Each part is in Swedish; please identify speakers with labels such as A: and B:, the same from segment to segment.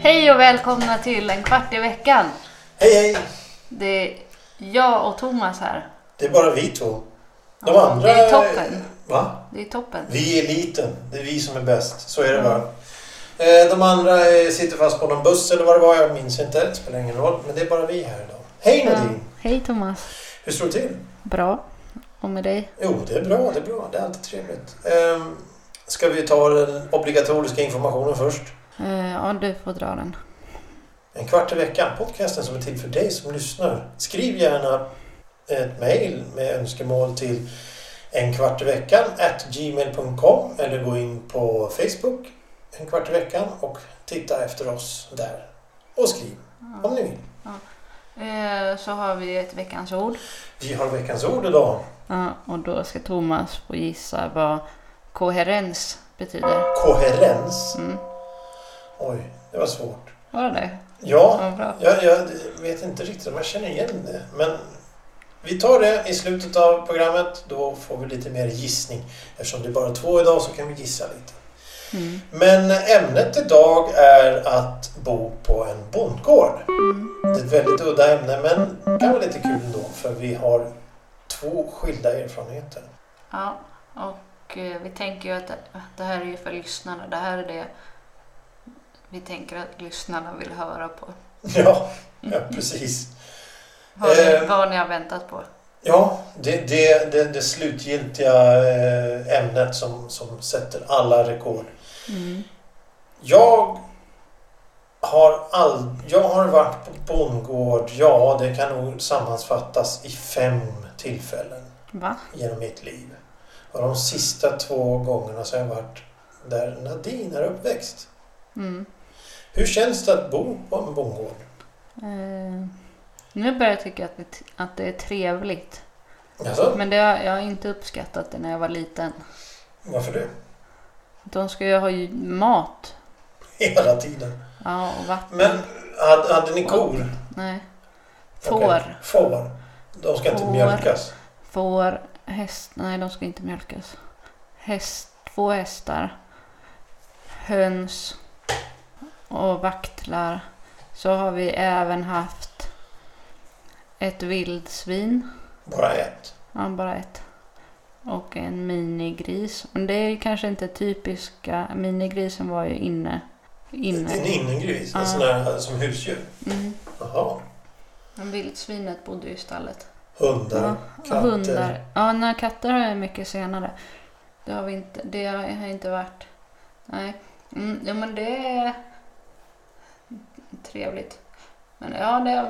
A: Hej och välkomna till en kvart i veckan.
B: Hej hej!
A: Det är jag och Thomas här.
B: Det är bara vi två. De
A: Ja,
B: andra...
A: det är toppen.
B: Va?
A: Det är toppen.
B: Vi är eliten. Det är vi som är bäst. Så är det bara. Eh, De andra eh, sitter fast på någon buss eller vad det var. Jag minns inte. Det spelar ingen roll. Men det är bara vi här idag. Hej Nadine!
A: Hej Thomas.
B: Hur står det till?
A: Bra. Och med dig?
B: Jo, det är bra. Det är bra. Det är alltid trevligt. Ehm, Ska vi ta den obligatoriska informationen först?
A: Eh, ja, du får dra den.
B: En kvart i veckan, podcasten som är till för dig som lyssnar. Skriv gärna ett mejl med önskemål till en kvart i veckan at gmail.com eller gå in på Facebook en kvart i veckan och titta efter oss där. Och skriv om ni vill.
A: Eh, så har vi ett veckans ord.
B: Vi har veckans ord idag.
A: Ja, och då ska Thomas få gissa vad koherens betyder.
B: Koherens.
A: Mm.
B: Oj, det var svårt.
A: Var det det?
B: Ja,
A: Ja, bra.
B: jag, jag vet inte riktigt om jag känner igen det. Men vi tar det i slutet av programmet. Då får vi lite mer gissning. Eftersom det är bara två idag så kan vi gissa lite.
A: Mm.
B: Men ämnet idag är att bo på en bondgård.
A: Mm.
B: Det är ett väldigt udda ämne men kan vara lite kul ändå för vi har två skilda erfarenheter.
A: Ja, och eh, vi tänker ju att det- att det här är ju för lyssnarna. Det här är det vi tänker att lyssnarna vill höra på. Mm.
B: Ja, ja precis.
A: Vad ni,
B: Eh.
A: vad ni har väntat på.
B: Ja, det, det, det, det slutgiltiga eh, ämnet som, som sätter alla rekord.
A: Mm.
B: Jag har, all, jag har varit på bondgård, ja det kan nog sammanfattas i fem tillfällen
A: Va?
B: genom mitt liv. Och de sista två gångerna så har jag varit där Nadine är uppväxt.
A: Mm.
B: Hur känns det att bo på en bondgård?
A: Eh, nu börjar jag tycka att det, att det är trevligt.
B: Alltså,
A: Men det, har- jag har inte uppskattat det när jag var liten.
B: varför det?
A: De ska ju ha ju mat
B: Hela tiden.
A: ja, och vatten.
B: Men hade, hade ni kor?
A: Nej. Får.
B: Okej. Får. De ska inte
A: Får.
B: mjölkas.
A: Får. Häst. Nej, de ska inte mjölkas. Häst. Två hästar. Höns. Och vaktlar. Så har vi även haft ett vildsvin.
B: Bara ett.
A: Ja, bara ett. Och en minigris. Men det är kanske inte typiska. Minigrisen var ju inne.
B: En
A: Inne.
B: innegris.
A: Ja.
B: En sån här som husdjur.
A: Mm.
B: Jaha.
A: Men vildsvinet bodde ju i stallet.
B: Hundar.
A: Ja, och
B: katter.
A: hundar. Ja, när katter har jag mycket senare. Det har vi inte. Det har inte varit. Nej. Mm, ja, men det är trevligt. Men ja, det,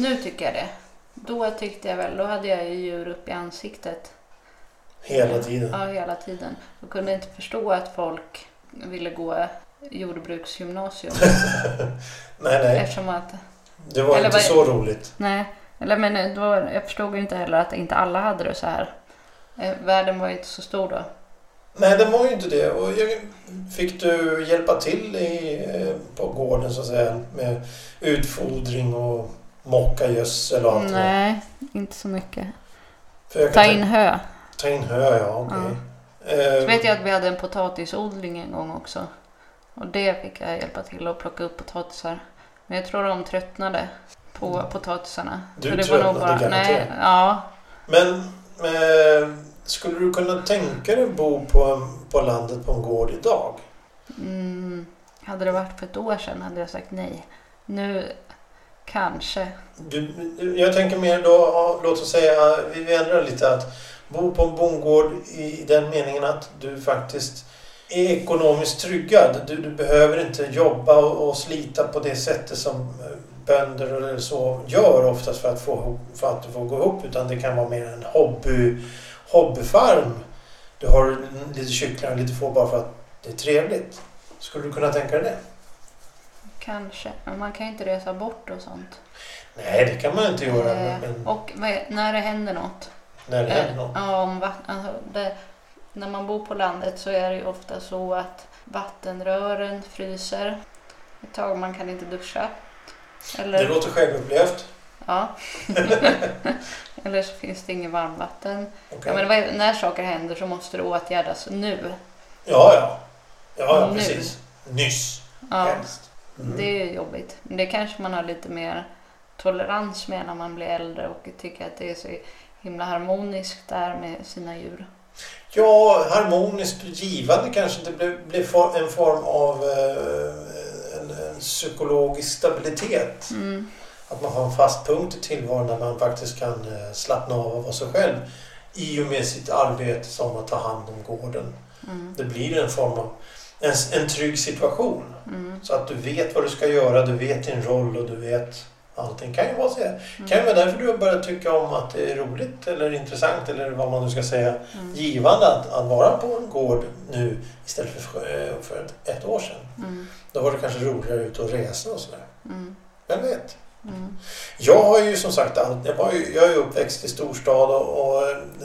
A: nu tycker jag det. Då tyckte jag väl, då hade jag ju djur upp i ansiktet.
B: Hela tiden.
A: Ja, hela tiden. Jag kunde inte förstå att folk ville gå jordbruksgymnasium.
B: Nej, nej.
A: eftersom att,
B: Det var
A: Eller
B: inte
A: vad-
B: så roligt.
A: nej, eller men då, jag förstod ju inte heller att inte alla hade det så här. Eh, Världen var ju inte så stor då.
B: Nej, det var ju inte det. Och jag, fick du hjälpa till i, eh, på gården så att säga med utfodring och mocka gödsel och allt det där?
A: Nej, inte så mycket.
B: För jag
A: Ta
B: kan
A: in hö.
B: ta in hö, ja. okej. Eh,
A: Så vet jag att vi hade en potatisodling en gång också. Och det fick jag hjälpa till att plocka upp potatisar. Men jag tror de tröttnade på potatisarna.
B: Mm. Du
A: Så det var nog
B: tröttnade
A: bara, nej,
B: garanterat.
A: ja,
B: Men eh, skulle du kunna tänka dig att bo på, en, på landet på en gård idag?
A: Mm, hade det varit för ett år sedan hade jag sagt nej. Nu kanske.
B: Du, jag tänker mer då, ja, låt oss säga, vi ändrar lite att bo på en bondgård i den meningen att du faktiskt är ekonomiskt tryggad. Du, du behöver inte jobba och, och slita på det sättet som eh, bönder eller så gör oftast för att, få, ihop- för att få gå ihop utan det kan vara mer en hobby, hobbyfarm. Du har lite kycklingar och lite får bara för att det är trevligt. Skulle du kunna tänka dig det?
A: Kanske. Men man kan ju inte resa bort och sånt.
B: Nej, det kan man inte göra.
A: Eh,
B: Men, men
A: och vad- när det händer något.
B: när det händer
A: Eh,
B: något.
A: Ja, om vatt- alltså det, när man bor på landet så är det ju ofta så att vattenrören fryser ett tag. Man kan inte duscha.
B: Det
A: Eller,
B: låter självupplevt.
A: ja. Eller så finns det inget varmvatten.
B: Okej.
A: Ja, men vad- när saker händer så måste det åtgärdas nu.
B: Ja, ja. Ja, ja
A: Nu.
B: precis. Nyss
A: Ja. Mm.
B: helst. Mhm.
A: Det är jobbigt. Men det kanske man har lite mer tolerans med när man blir äldre och tycker att det är så himla harmoniskt där med sina djur.
B: Ja, harmoniskt och givande kanske det blir, blir for, en form av eh, en, en psykologisk stabilitet.
A: Mm.
B: Att man har en fast punkt i tillvaron där man faktiskt kan eh, slappna av och vara sig själv i och med sitt arbete som att ta hand om gården.
A: Mm.
B: Det blir en form av en, en trygg situation.
A: Mm.
B: Så att du vet vad du ska göra, du vet din roll och du vet allting. Kan ju vara så. här.
A: Mm.
B: Kan ju vara därför du har börjat tycka om att det är roligt eller intressant eller vad man nu ska säga
A: Mm.
B: givande att, att vara på en gård nu istället för, eh, för ett, ett år sedan.
A: Mm.
B: Då var det kanske roligare ut och resa och sådär.
A: Mm.
B: Vem vet?
A: Mm.
B: Jag har ju som sagt allt. Jag, var ju, jag är ju uppväxt i storstad och, och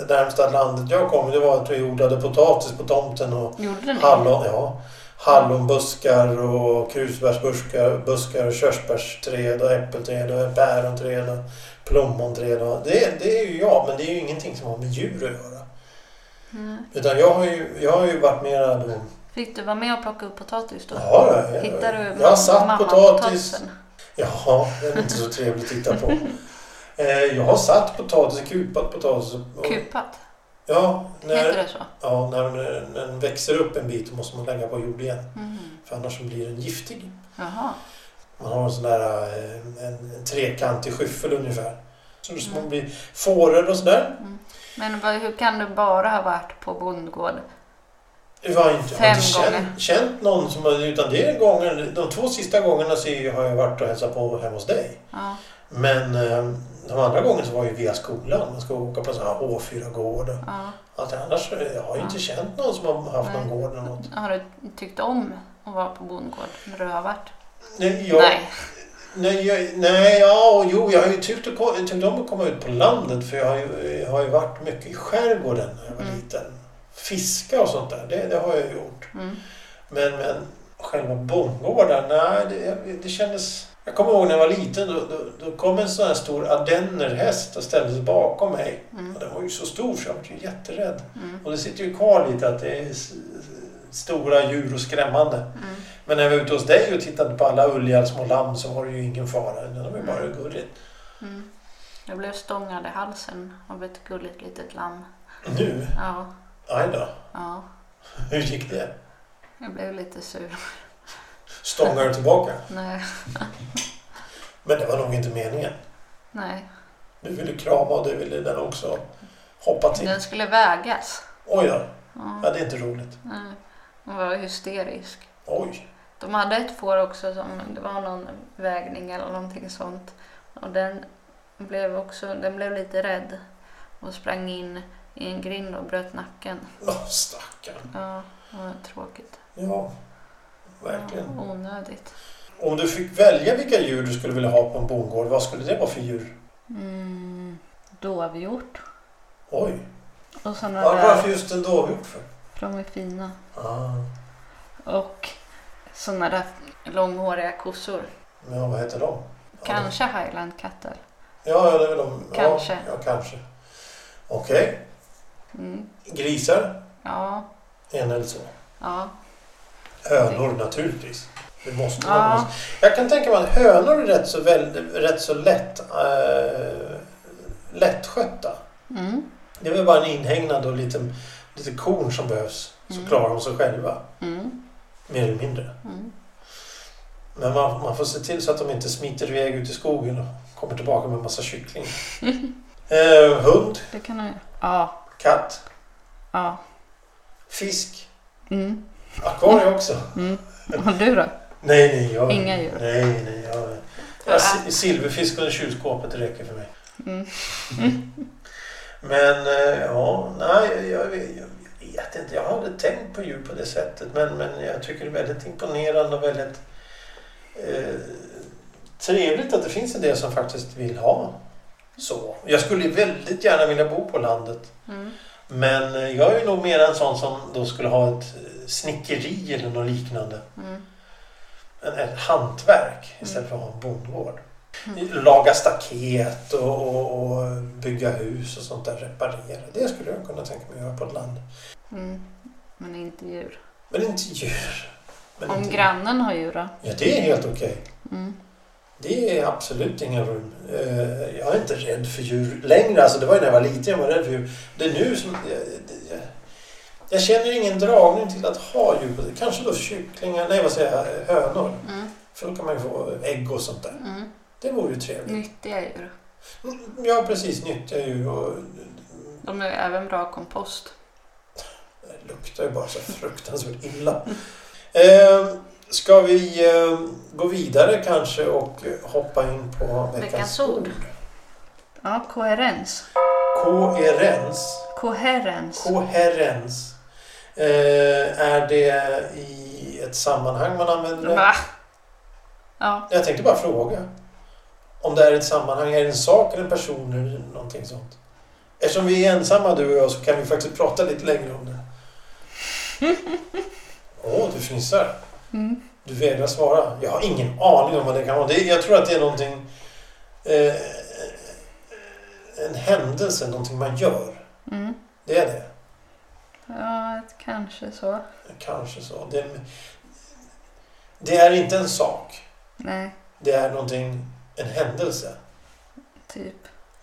B: det närmsta landet jag kom det var att vi odlade potatis på tomten och
A: Gjorde ni?
B: hallon, ja, hallonbuskar och krusbärsbuskar buskar och körsbärsträd och äppelträd och päronträd och plommonträd. Och, det, det är ju jag, men det är ju ingenting som har med djur att göra.
A: Mm.
B: Utan jag har ju, jag har ju varit mera då...
A: Fick du vara med och plocka upp potatis då?
B: Ja, jag,
A: Hittade du
B: jag har satt
A: mamma
B: potatis.
A: potatisen?
B: Ja, det är inte så trevligt att titta på. Eh, Jag har satt potatis, kupat potatis. och- och-
A: Kupat?
B: Ja,
A: Heter
B: när,
A: det så?
B: ja, när den- den växer upp en bit måste man lägga på jord igen.
A: Mm.
B: För annars så blir den giftig.
A: Jaha.
B: Man har en sån där eh, en, en trekantig skyffel ungefär. Så det små
A: Mm.
B: blir fåror och sådär.
A: Mm. Men vad, hur kan du bara ha varit på bondgård?
B: Jag har inte, jag har
A: Fem
B: inte
A: gånger.
B: känt, känt någon som har... Utan det är gången, de två sista gångerna så har jag varit och hälsat på hemma hos dig.
A: Ja.
B: Men eh, de andra gångerna så var ju via skolan. Man ska åka på sådana här H4-gård. och
A: ja.
B: Allt annars eh, jag har ju inte
A: Ja.
B: känt någon som har haft någon
A: Mm. Nej.
B: gård eller något.
A: Har du tyckt om att vara på bondgård när du har varit?
B: Nej, jag, nej.
A: Nej.
B: Nej, jag, nej, ja, och jo, jag har ju tyckt, att ko- tyckt om att komma ut på landet för jag har ju, jag har ju varit mycket i skärgården när jag var
A: Mm.
B: liten. Fiska och sånt där, det, det har jag gjort.
A: Mm.
B: Men, men själva bondgårdar, nej, det, det kändes... Jag kommer ihåg när jag var liten, då, då, då kom en sån här stor ardennerhäst och ställde sig bakom mig.
A: Mm.
B: Och den var ju så stor så jag var ju jätterädd.
A: Mm.
B: Och det sitter ju kvar lite att det är s- s- stora djur och skrämmande.
A: Mm.
B: Men när jag var ute hos dig och tittade på alla ulliga små lamm så var det ju ingen fara. Det var ju bara gulligt.
A: Mm. Jag blev stångad i halsen av ett gulligt litet lamm.
B: Nu?
A: Ja,
B: Aj då.
A: ja.
B: Hur gick det?
A: Jag blev lite sur.
B: Stångade du tillbaka?
A: Nej,
B: Men det var nog inte meningen.
A: nej.
B: Du ville krama och du ville den också hoppa till.
A: Den skulle vägas.
B: Oj då. Ja,
A: Ja.
B: det är inte roligt.
A: Nej. Hon var hysterisk.
B: Oj.
A: De hade ett får också som det var någon vägning eller någonting sånt. Och den blev också, den blev lite rädd och sprang in i en grind och bröt nacken.
B: Oh, stackarn.
A: Ja, det var tråkigt.
B: Ja. Verkligen.
A: Ja, onödigt.
B: Om du fick välja vilka djur du skulle vilja ha på en bondgård, vad skulle det vara för djur?
A: Mm, dovhjort.
B: Oj.
A: Och såna
B: Var-
A: där,
B: Varför just en dovhjort för?
A: för de är fina.
B: Ah.
A: Och såna där långhåriga kossor.
B: Ja, vad heter de? Ja, de-
A: Kanske highlandkatter.
B: Ja, ja, det är väl de.
A: Kanske.
B: Ja, ja kanske. Okej.
A: Mm,
B: Grisar,
A: ja,
B: en eller så.
A: ja.
B: Hönor naturligtvis. Det måste man.
A: Ja.
B: Jag kan tänka mig att hönor är rätt så, väl, rätt så lätt, eh, lättskötta.
A: Mm,
B: Det är väl bara en inhägnad och lite, lite korn som behövs. Så
A: Mm.
B: klarar de sig själva,
A: mm,
B: mer eller mindre.
A: mm.
B: Men man, man får se till så att de inte smiter iväg ut i skogen och kommer tillbaka med en massa kycklingar. eh, hund,
A: Det kan du Ja,
B: katt,
A: ja.
B: fisk,
A: Mm.
B: akvarie också.
A: Mm. Och du då?
B: Nej, nej. Jag,
A: Inga djur.
B: Nej, nej. Jag, jag, si- silverfisk under kylskåpet det räcker för mig.
A: Mm.
B: Men eh, ja, nej, jag, jag, jag vet inte. Jag har aldrig tänkt på djur på det sättet. Men, men jag tycker det är väldigt imponerande och väldigt eh, trevligt att det finns en del som faktiskt vill ha så. Jag skulle väldigt gärna vilja bo på landet.
A: Mm.
B: Men eh, jag är nog mer en sån som då skulle ha ett eh, snickeri eller något liknande.
A: Mm.
B: en, ett hantverk istället för att ha en bondgård. Laga staket och, och, och bygga hus och sånt där, reparera. Det skulle jag kunna tänka mig att göra på ett land.
A: Mm. Men inte djur.
B: Men inte djur. Men
A: Om
B: inte-
A: grannen har djur då?
B: Ja, det är helt okej.
A: Mm.
B: Det är absolut inga rum. Eh, Jag är inte rädd för djur längre. Alltså, det var ju när jag var liten jag var rädd för djur. Det är nu som... Jag, jag, jag känner ingen dragning till att ha djur. Kanske då kycklingar, nej vad säger jag, hönor.
A: Mm.
B: För då kan man ju få ägg och sånt där.
A: Mm.
B: Det vore ju trevligt.
A: Nyttiga djur.
B: Mm, Ja, precis. Nyttja djur och...
A: De är även bra kompost.
B: Det luktar ju bara så fruktansvärt illa. Eh, Ska vi eh, gå vidare kanske och hoppa in på veckans,
A: Veckans ord. Ja, koherens.
B: Koherens.
A: Koherens.
B: Koherens. Eh, är det i ett sammanhang man använder det?
A: Va? Ja,
B: Jag tänkte bara fråga. Om det är ett sammanhang, är det en sak eller en person eller någonting sånt? Eftersom vi är ensamma du och jag så kan vi faktiskt prata lite längre om det. Åh, du fnissar.
A: mm.
B: Du vägrar svara. Jag har ingen aning om vad det kan vara. Det, jag tror att det är någonting... Eh, en händelse, någonting man gör.
A: Mm.
B: Det är det.
A: ja kanske så.
B: Kanske så. Det, det är inte en sak.
A: Nej,
B: Det är någonting, en händelse.
A: typ.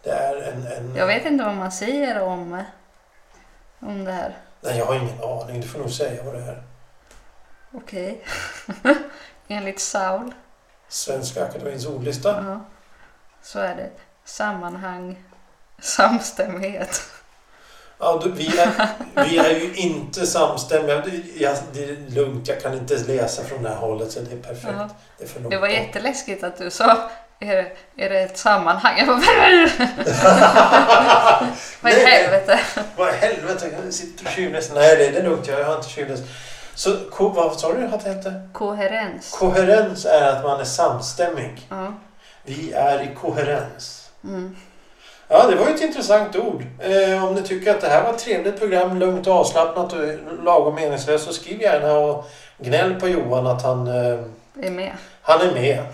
B: Det är en... en
A: Jag vet inte vad man säger om, eh, om det här.
B: Nej, jag har ingen aning. Du får nog säga vad det är.
A: Okej. Enligt Saul
B: Svenska Akademiens ordlista.
A: ja, så är det sammanhang, samstämmighet.
B: Ja, du, vi, är, vi är ju inte samstämmiga. Du, Jag, det är lugnt, jag kan inte läsa från det här hållet så det är perfekt.
A: Ja.
B: Det är för långt
A: Det var
B: bort.
A: jätteläskigt att du sa är det, är det ett sammanhang? Jag bara, vad i
B: Nej, nej.
A: helvete?
B: Vad i helvete, jag sitter och tjuvläser. Nej, det, det är lugnt. Jag har inte tjuvläst. Så ko, vad sa du att det hette?
A: Koherens.
B: Koherens är att man är samstämmig.
A: Ja.
B: Vi är i koherens.
A: Mm.
B: Ja, det var ju ett intressant ord. Eh, om ni tycker att det här var ett trevligt program, lugnt och avslappnat och lagom meningslöst, så skriv gärna och gnäll på Johan att han, eh,
A: Är med.
B: han är med.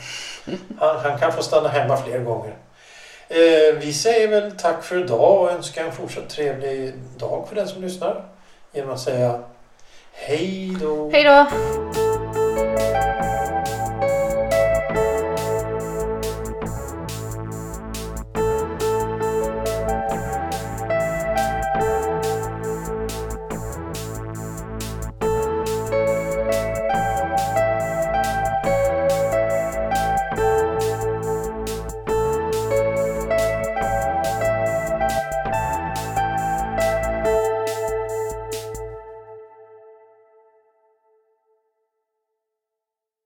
B: Han, han kan få stanna hemma fler gånger. Eh, vi säger väl tack för idag och önskar en fortsatt trevlig dag för den som lyssnar. Genom att säga hej då.
A: Hej då!